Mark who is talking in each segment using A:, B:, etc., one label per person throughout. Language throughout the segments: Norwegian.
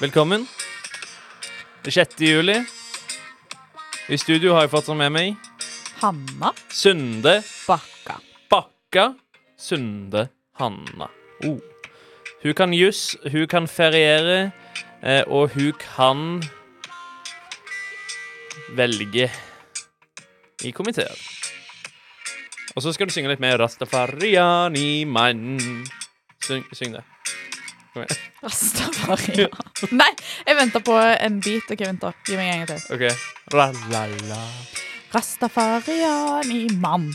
A: Velkommen. 6. juli. I studio har jeg fått med meg
B: Hanna
A: Sunde
B: Bakka.
A: Bakka Sunde Hanna. Oh. Hun kan juss, hun kan feriere, eh, og hun kan velge i komiteer. Og så skal du synge litt med Rastafariani mann. Syng, syng det.
B: Rastafari. Nei, jeg venter på en bit. OK, vent da. Gi meg en gang til.
A: OK. Ra-la-la.
B: Rastafariani mann.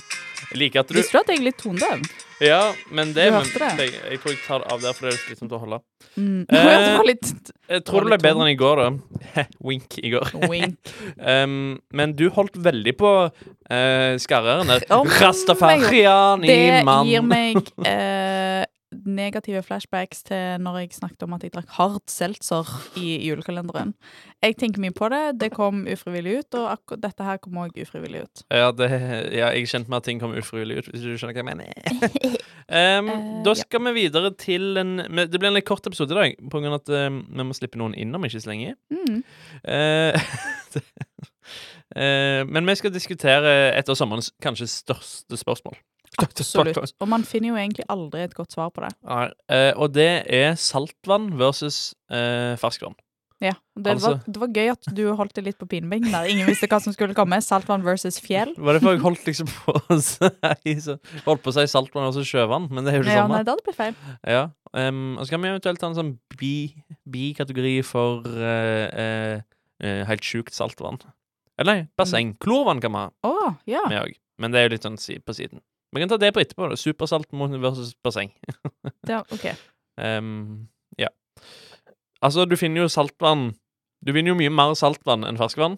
A: Jeg liker at du
B: Visste du at jeg er litt tondøv?
A: Ja, men det
B: Du
A: men,
B: hørte det?
A: Jeg, jeg tror jeg tar av der, for det er litt slitsomt å holde.
B: Mm.
A: Eh.
B: det var litt
A: Jeg tror det ble bedre enn i går, da. Heh, Wink i går.
B: wink.
A: Um, men du holdt veldig på uh, skarreren der.
B: Om
A: Rastafariani,
B: Det
A: mann.
B: gir meg eh, negative flashbacks til når jeg snakket om at jeg drakk hardt seltzer i julekalenderen. Jeg tenker mye på det. Det kom ufrivillig ut, og akkurat dette her kom òg ufrivillig ut.
A: Ja, det, ja, jeg er kjent med at ting kommer ufrivillig ut, hvis du skjønner hva jeg mener. Um,
B: Eh,
A: da
B: ja.
A: skal vi videre til en men Det blir en litt kort episode i dag, på grunn av at um, vi må slippe noen inn om ikke så lenge.
B: Mm.
A: Eh, eh, men vi skal diskutere et av sommerens kanskje største spørsmål.
B: Absolutt. Og man finner jo egentlig aldri et godt svar på det.
A: Nei, eh, og det er saltvann versus eh, ferskvann.
B: Ja, og det,
A: Altså-
B: var, det var gøy at du holdt det litt på pinebingen der. Ingen visste hva som skulle komme. Saltvann versus fjell.
A: Var det for jeg holdt liksom på å si så- Holdt på å si saltvann versus sjøvann, men det er jo det
B: Ja,
A: samme.
B: nei, det hadde blitt feil.
A: Ja. em, og så kan vi eventuelt ta en sånn bi- bi-kategori for eh, eh, eh, helt sjukt saltvann. Eller nei, basseng. Klorvann kan vi ha
B: Å, ja.
A: med òg, men det er jo litt sånn si- på siden. Vi kan ta det på etterpå. da. Supersalt mot- versus basseng.
B: Det, ok.
A: Ehm, ja. Altså, du finner jo saltvann Du finner jo mye mer saltvann enn ferskvann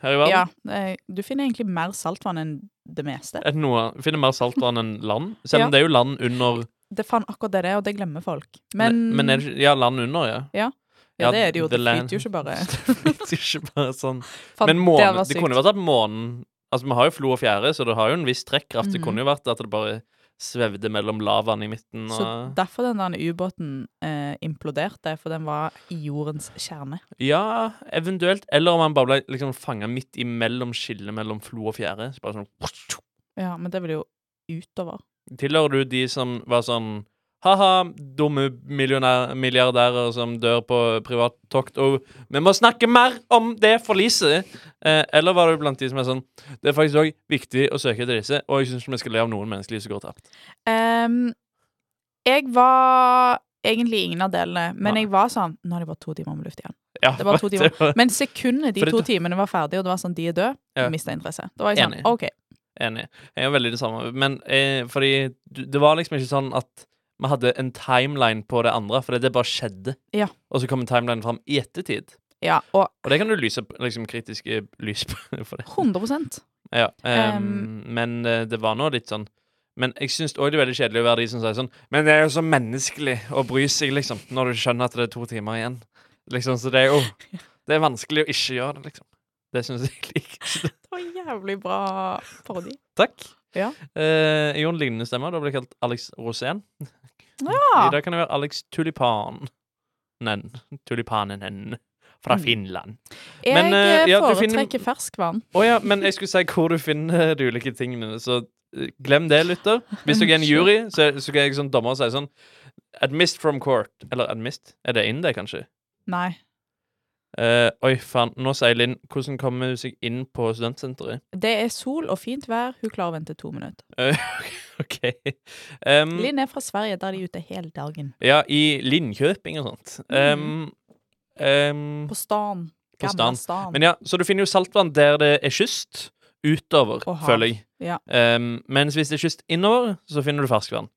A: her i verden.
B: Ja, eh, du finner egentlig mer saltvann enn det meste.
A: Er det noe, du finner mer saltvann enn land, selv om
B: Ja.
A: det er jo land under
B: Det er faen akkurat det det er, og det glemmer folk. Men,
A: Men, men er det, ikke- ja, land under, ja.
B: ja, det er det jo.
A: the
B: Det
A: land-
B: flyter jo ikke bare.
A: Det er ikke bare sånn.
B: Faen,
A: Men
B: det
A: månen,
B: var
A: det,
B: sykt.
A: kunne jo vært at månen Altså, vi har jo flo og fjære, så det har jo en viss trekkraft. Det
B: Mhm.
A: kunne jo vært at det bare svevde mellom lavaen i midten og
B: Så derfor den der ubåten eh, imploderte, for den var i jordens kjerne.
A: Ja, eventuelt. Eller om han bare ble liksom fanga midt imellom skillet mellom flo og fjære. Så bare sånn
B: Ja, men det ville jo utover.
A: Tilhører du de som var sånn Ha-ha, dumme millionær- milliardærer som dør på privattokt, og vi må snakke mer om det forliset! Eh, eller var du blant de som er sånn Det er faktisk òg viktig å søke etter disse, og jeg syns vi skal le av noen menneskeliv som går tapt.
B: Ehm, jeg var egentlig ingen av delene, men
A: Nei.
B: jeg var sånn Nå er det bare to timer med luft igjen.
A: Ja,
B: Det var to timer.
A: var-
B: Men sekundet de
A: Fordi
B: to
A: du-
B: timene var ferdig, og det var sånn, de er døde,
A: Ja.
B: ja. mista interesse. Da var jeg sånn,
A: Enig.
B: OK.
A: Enig. Jeg er veldig det samme. Men eh, fordi du- det var liksom ikke sånn at vi hadde en timeline på det andre, for det bare skjedde.
B: Ja.
A: Og så kom timelinen fram i ettertid.
B: Ja, og
A: Og det kan du lyse liksom, kritiske lys på. For det.
B: 100
A: Ja, ehm,
B: Ehm.
A: men eh, det var nå litt sånn Men jeg syns òg det er veldig kjedelig å være de som sier sånn Men det er jo så menneskelig å bry seg, liksom, når du skjønner at det er to timer igjen. Liksom, så det er jo Det er vanskelig å ikke gjøre det, liksom. Det syns jeg liker.
B: Det var en jævlig bra parodi.
A: Takk.
B: Ja.
A: Eh, Jon lignende stemmer. Da blir jeg kalt Alex Rosén. I
B: Ja!
A: dag kan det være Alex Tulipanen. Tulipanen. Fra
B: Mm.
A: Finland.
B: Jeg
A: Men, eh,
B: eh,
A: ja, du finner-
B: foretrekker ferskvann.
A: Å ja, men jeg skulle si hvor du finner de ulike tingene, så eh, glem det, lytter. Hvis dere er en jury, så, så kan jeg som dommer si sånn Admissed from court. Eller admissed? Er det inn, det, kanskje?
B: Nei.
A: Eh, oi, faen. Nå sier Linn Hvordan kommer hun seg inn på studentsenteret?
B: Det er sol og fint vær, hun klarer å vente to minutter.
A: OK. Um,
B: Linn er fra Sverige, der de er ute hele dagen.
A: ja, i Linnkjøping og sånt. Um, um,
B: Mm. På stan.
A: På
B: Gamle
A: stan.
B: stan.
A: men ja, så du finner jo saltvann der det er kyst. Utover,
B: Og hav.
A: føler jeg.
B: Ja.
A: Um, mens hvis det er kyst innover, så finner du ferskvann.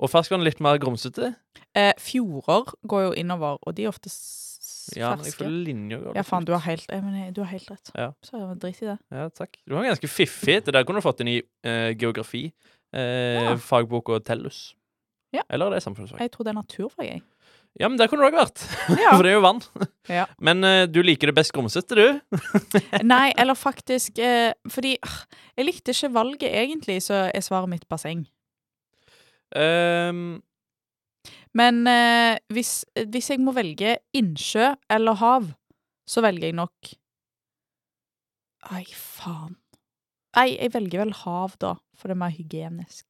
A: Og ferskvann er litt mer grumsete.
B: Eh, fjorder går jo innover, og de er ofte s-
A: Ja, men jeg
B: ferske.
A: føler linja går
B: Ja,
A: litt
B: faen,
A: ut.
B: du har helt, eh, men, eh, du har helt rett.
A: Ja.
B: Så drit i det.
A: Ja, takk. Du var ganske fiffig. Det der kunne du fått inn i eh, geografi, eh,
B: Ja.
A: fagbok og tellus.
B: Ja.
A: Eller er det samfunnsfag?
B: Jeg tror det er naturfag, jeg.
A: Ja, men der kunne du òg vært,
B: Ja.
A: for det er jo vann.
B: Ja.
A: Men eh, du liker det best grumsete, du.
B: Nei, eller faktisk eh, Fordi ah, jeg likte ikke valget egentlig, så er svaret mitt basseng.
A: Ehm,
B: Men eh, hvis, hvis jeg må velge innsjø eller hav, så velger jeg nok Ai, faen. Nei, jeg velger vel hav, da, for det er mer hygienisk.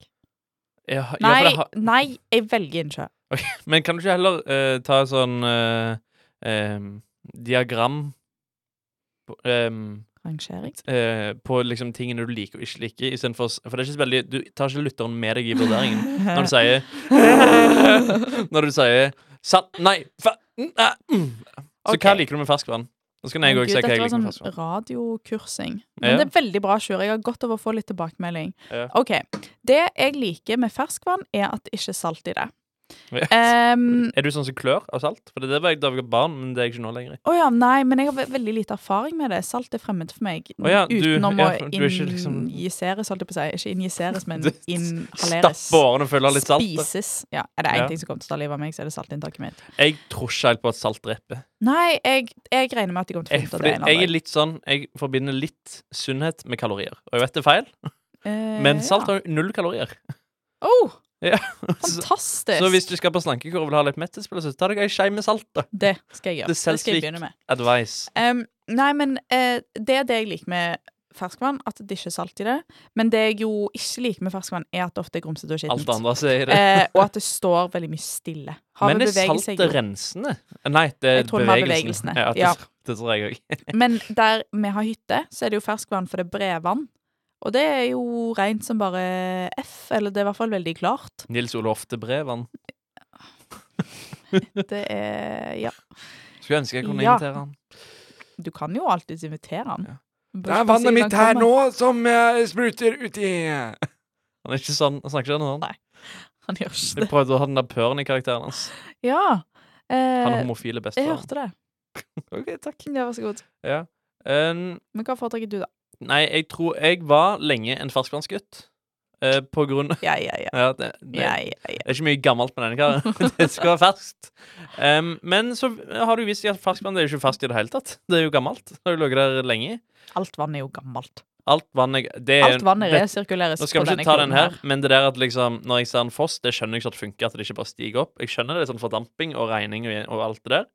A: Ja, ja, for
B: Nei,
A: det har-
B: nei jeg velger innsjø.
A: Men kan du ikke heller eh, ta sånn eh, em, diagram på, em,
B: Rangering.
A: eh, på liksom tingene du liker og ikke liker, istedenfor s- For det er ikke så veldig Du tar ikke lytteren med deg i vurderingen når du sier Når du sier sant Nei, fa... mm, ah, mm. Så
B: Ok.
A: hva liker du med ferskvann? Da skal jeg òg
B: Gud,
A: se hva
B: dette
A: jeg liker
B: var
A: med
B: sånn
A: ferskvann.
B: radiokursing. Men
A: Ja.
B: det er veldig bra, Sjur. Jeg har godt av å få litt tilbakemelding.
A: Ja.
B: OK. Det jeg liker med ferskvann, er at det ikke er salt i det.
A: Ja.
B: Um,
A: Er du sånn som klør av salt? For det var jeg da jeg var barn, men det er jeg ikke nå lenger.
B: Å ja, nei, men jeg har ve- veldig lite erfaring med det. Salt er fremmed for meg.
A: Å ja, du-
B: Utenom
A: ja,
B: å
A: for du er ikke liksom-
B: injiseres, holdt jeg på å si. Ikke injiseres, men
A: Du
B: inhaleres.
A: Stappe årene og føle litt salt. da.
B: Spises. Ja, er det én
A: Ja.
B: ting som kommer til å ta livet av meg, så er det saltinntaket mitt.
A: Jeg tror ikke helt på at salt dreper.
B: Nei, jeg, jeg regner med at jeg kommer til å
A: Jeg,
B: finne ut av
A: fordi,
B: det
A: jeg
B: en
A: er
B: annen dag.
A: litt sånn Jeg forbinder litt sunnhet med kalorier. Og jeg vet det er feil,
B: Eh,
A: men salt
B: ja.
A: har jo null kalorier.
B: Oh,
A: Så,
B: fantastisk!
A: så hvis du skal på slankekur og vil ha litt mettespiller, så ta deg ei skje med salt, da.
B: Det skal jeg
A: Det
B: gjøre.
A: er
B: Det skal
A: selvsvik.
B: jeg begynne med.
A: Advice.
B: Em, nei, men eh, det er det jeg liker med ferskvann, at det ikke er salt i det. Men det jeg jo ikke liker med ferskvann, er at det ofte er grumsete og
A: Alt det
B: skittent.
A: andre sier det.
B: Eh, og at det står veldig mye stille. Havet
A: Men er
B: beveger seg
A: saltet
B: jo.
A: rensende? Nei, det er
B: Jeg tror det var
A: bevegelsen.
B: bevegelsene.
A: Ja, det,
B: Ja.
A: det tror jeg òg.
B: Men der vi har hytte, så er det jo ferskvann, for det er brevann. Og det er jo rent som bare F, eller det er i hvert fall veldig klart.
A: Nils Ole Ofte Brevan.
B: Det er Ja.
A: Skulle ønske jeg kunne
B: Ja.
A: invitere han.
B: Du kan jo alltids invitere han.
A: Ja.
B: Bare ikke si at han kommer.
A: som
B: eh,
A: jeg spruter uti. Han er ikke sånn, han snakker ikke sånn.
B: Nei. Han gjør ikke
A: Jeg
B: det.
A: prøvde å ha den der pøren i karakteren hans.
B: Ja.
A: Han
B: Eh,
A: homofile
B: jeg
A: bestefaren.
B: hørte det.
A: Ok, takk.
B: Ja, vær så god.
A: Ja. Um,
B: Men hva foretrekker du, da?
A: nei, jeg tror jeg var lenge en ferskvannsgutt. Eh, på grunn
B: Ja, ja, ja.
A: ja, det, det,
B: ja, ja, ja.
A: det er ikke mye gammelt med denne karen. det skal være ferskt. Um, men så har du vist at ferskvann det er jo ikke ferskt i det hele tatt. Det er jo gammelt. Det har jo ligget der lenge.
B: Alt vann er jo gammelt.
A: Alt vann jeg det er,
B: Alt vann
A: det-
B: resirkuleres
A: Nå skal
B: på
A: vi
B: denne
A: ikke ta den
B: kloden
A: her, men det der at liksom når jeg ser en foss, det skjønner jeg ikke at funker. At det ikke bare stiger opp. Jeg skjønner det er sånn fordamping og regning og, og alt det der.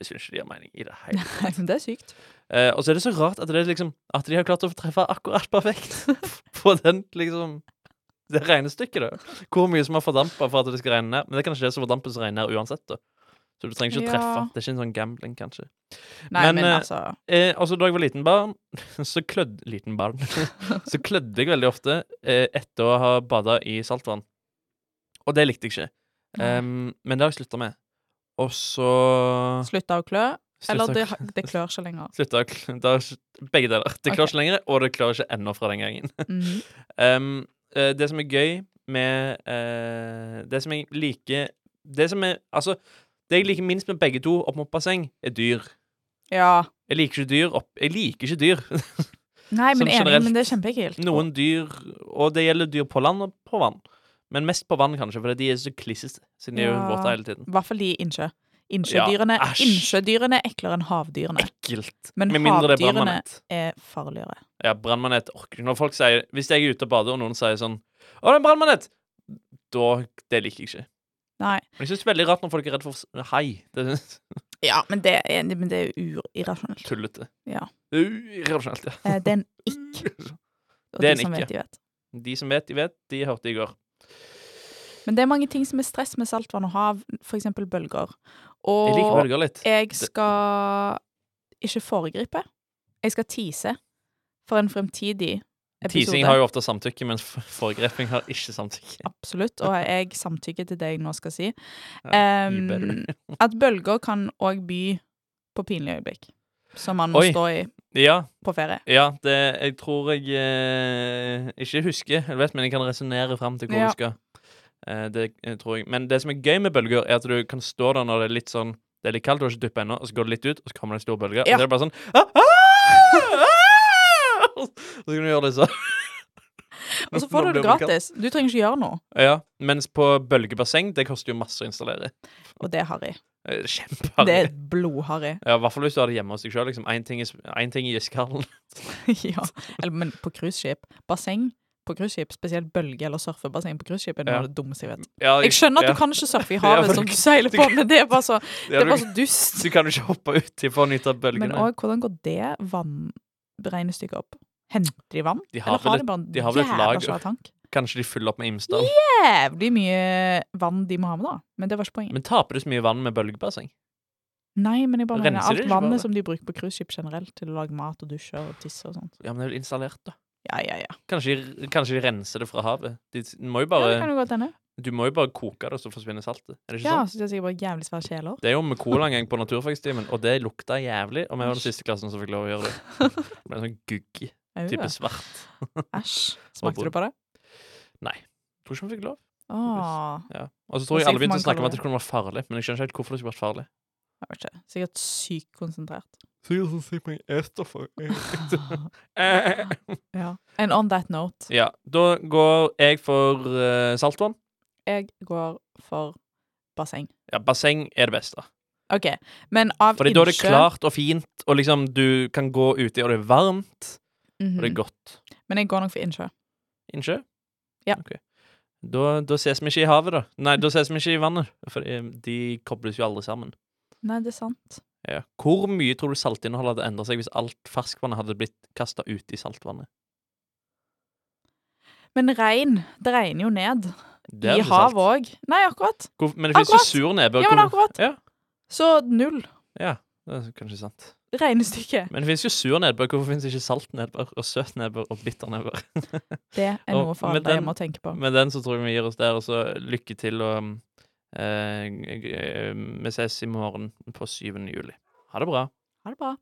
A: Jeg syns ikke det gir mening i det hele
B: Nei, men det er sykt.
A: Eh, og så er det så rart at, det er liksom, at de har klart å treffe akkurat perfekt på den liksom det regnestykket. da. Hvor mye som har fordampa for at det skal regne ned. Men det er kanskje det som fordampes regner ned uansett. da. Så du trenger ikke å treffe.
B: Ja.
A: Det er ikke en sånn gambling, kanskje.
B: Nei,
A: Men,
B: men,
A: eh,
B: altså
A: Eh, og så da jeg var liten barn, så klødd Liten barn. så klødde jeg veldig ofte eh, etter å ha bada i saltvann. Og det likte jeg ikke.
B: Nei.
A: Em, men det har jeg slutta med. Og så
B: Slutta å klø. Eller
A: slutta-
B: det, det klør altså. ikke lenger.
A: Slutta å kl- det har- Begge deler. Det klarer
B: Ok.
A: ikke lenger, og det klarer ikke ennå fra den gangen.
B: Mhm.
A: Um, eh, det som er gøy med eh, Det som jeg liker Det som er Altså, det jeg liker minst med begge to opp mot basseng, er dyr.
B: Ja.
A: Jeg liker ikke dyr opp Jeg liker ikke dyr.
B: Nei,
A: Som
B: men enig,
A: Sånn generelt,
B: men det er kjempeekkelt.
A: Noen dyr Og det gjelder dyr på land og på vann. Men mest på vann, kanskje, for de er så klissete, siden de er jo
B: Ja.
A: våte hele tiden.
B: I hvert fall de i innsjø. Innsjødyrene,
A: Ja, æsj.
B: innsjødyrene er eklere enn havdyrene.
A: Ekkelt.
B: Men
A: Med mindre det er
B: havdyrene-
A: brannmanet.
B: Er farligere.
A: Ja, brannmanet orker ikke. Når folk sier Hvis jeg er ute og bader, og noen sier sånn 'Å, det er en brannmanet!' Da Det liker jeg ikke.
B: Nei.
A: Men jeg syns det er veldig rart når folk er redd for s- hai. Det synes
B: Ja, men det er, men det er jo urirrasjonelt.
A: tullete.
B: Ja.
A: Det er Irrasjonelt, ja.
B: Eh, Det er en ikk. og
A: Det er
B: de
A: en
B: som
A: ikk,
B: vet, de vet.
A: De som vet, de vet. De hørte i går.
B: Men det er mange ting som er stress med saltvann og hav, f.eks. bølger.
A: Jeg liker
B: Og
A: bølger litt.
B: jeg skal ikke foregripe. Jeg skal tise for en fremtidig episode.
A: Teasing har jo ofte samtykke, mens f- foregreping har ikke samtykke.
B: Absolutt, og jeg samtykker til det jeg nå skal si.
A: Ja, you
B: Em,
A: better.
B: at bølger kan òg by på pinlige øyeblikk, som man må
A: Oi.
B: stå i
A: Ja,
B: på ferie.
A: ja det, jeg tror jeg eh, ikke husker, jeg vet, men jeg kan resonnere fram til hvor du
B: Ja.
A: skal. Eh, det eh, tror jeg. Men det som er gøy med bølger, er at du kan stå der når det er litt sånn det er litt kaldt, du har ikke dyppet ennå, og så går det litt ut, og så kommer det en stor bølge.
B: Ja.
A: Og så er det bare sånn ah, ah, ah! Og så kan du gjøre det sånn.
B: Og så
A: Nå
B: får du
A: blir
B: det
A: kaldt.
B: gratis. Du trenger ikke gjøre noe,
A: Ja, mens på bølgebasseng, det koster jo masse å installere.
B: og det er harry.
A: Eh,
B: Det
A: Kjempeharry.
B: er blodharry.
A: Ja, I hvert fall hvis du har det hjemme hos deg sjøl. Liksom. Én ting, i s- en ting i iskallen.
B: ja. Eller, men på cruiseskip. Basseng, på cruiseskip, spesielt bølge- eller surfebasseng på cruiseskip, er noe
A: Ja.
B: av det dummeste jeg vet.
A: Ja,
B: Jeg skjønner at
A: ja.
B: du kan ikke surfe i
A: Ja,
B: havet
A: for
B: som
A: du-
B: du seiler
A: du
B: på,
A: kan-
B: men det er bare så, det
A: Ja,
B: er
A: du,
B: bare så dust.
A: du kan jo ikke hoppe uti for å nyte av
B: Men
A: bølgene.
B: òg, hvordan går det vannregnestykket opp? Henter de vann?
A: De har
B: Eller
A: vel
B: har de bare en
A: de har vel et
B: jævla
A: lager.
B: svær tank?
A: Kanskje de fyller opp med Imsdal.
B: Jævlig mye vann de må ha med, da. Men det var ikke poenget.
A: Men taper du så mye vann med bølgebasseng?
B: Nei, men jeg bare mener
A: Renser de
B: alt
A: ikke bare?
B: vannet som de bruker på cruiseskip generelt, til å lage mat og dusje og tisse og sånt.
A: Ja, men det er vel installert, da.
B: Ja, ja, ja.
A: Kanskje de, kanskje de renser det fra havet. De s- må jo
B: ja det
A: bare,
B: kan jo godt hende.
A: du må jo bare koke det, og så forsvinner saltet. Er det ikke
B: Ja,
A: sånn?
B: så de har sikkert bare jævlig svære kjeler.
A: Det er jo med cola en gang på naturfagstimen, og det lukta jævlig. Og vi var den siste klassen som fikk lov å gjøre det. Det ble en sånn guggy
B: Au,
A: type svart.
B: Æsj. Smakte du på det?
A: Tror ikke vi fikk lov.
B: Åh,
A: Ja. Og så tror
B: Og
A: jeg alle
B: sikkert mange
A: begynte å snakke om at
B: kalorier.
A: det kunne være farlig, men jeg skjønner ikke helt hvorfor det skulle vært farlig.
B: jeg vet ikke. Sikkert sykt konsentrert. Ja. And on that note,
A: Ja, da går jeg for eh, saltvann.
B: jeg går for basseng.
A: Ja, basseng er det beste.
B: OK, men av
A: Fordi da er det
B: innsjø-
A: klart og fint, og liksom du kan gå uti, og det er varmt, og det
B: Mhm.
A: er godt.
B: Men jeg går nok for innsjø.
A: Innsjø?
B: Ja.
A: Ok. Da, da ses vi ikke i havet, da. Nei, da ses vi ikke i vannet, for eh, de kobles jo aldri sammen.
B: Nei, det er sant.
A: Ja. Hvor mye tror du saltinnholdet hadde endret seg hvis alt ferskvannet hadde blitt kasta ut i saltvannet?
B: Men regn. Det regner jo ned.
A: Det
B: I
A: er vel salt.
B: havet òg. Nei, akkurat.
A: Hvor- Men det finnes jo
B: Akkurat!
A: sur nedbør.
B: Ja, men
A: Hvor-
B: akkurat.
A: Ja.
B: Så null.
A: Ja, det er kanskje sant.
B: Regnestykke.
A: Men det fins jo sur nedbør. Hvorfor fins ikke salt nedbør og søt nedbør og bitter nedbør?
B: Det er
A: Og
B: noe for
A: med
B: alle
A: den-
B: hjemme å tenke på.
A: Med den så tror jeg vi gir oss der, og så lykke til, og um, eh, g- eh, vi ses i morgen på 7. juli. Ha det bra.
B: Ha det bra.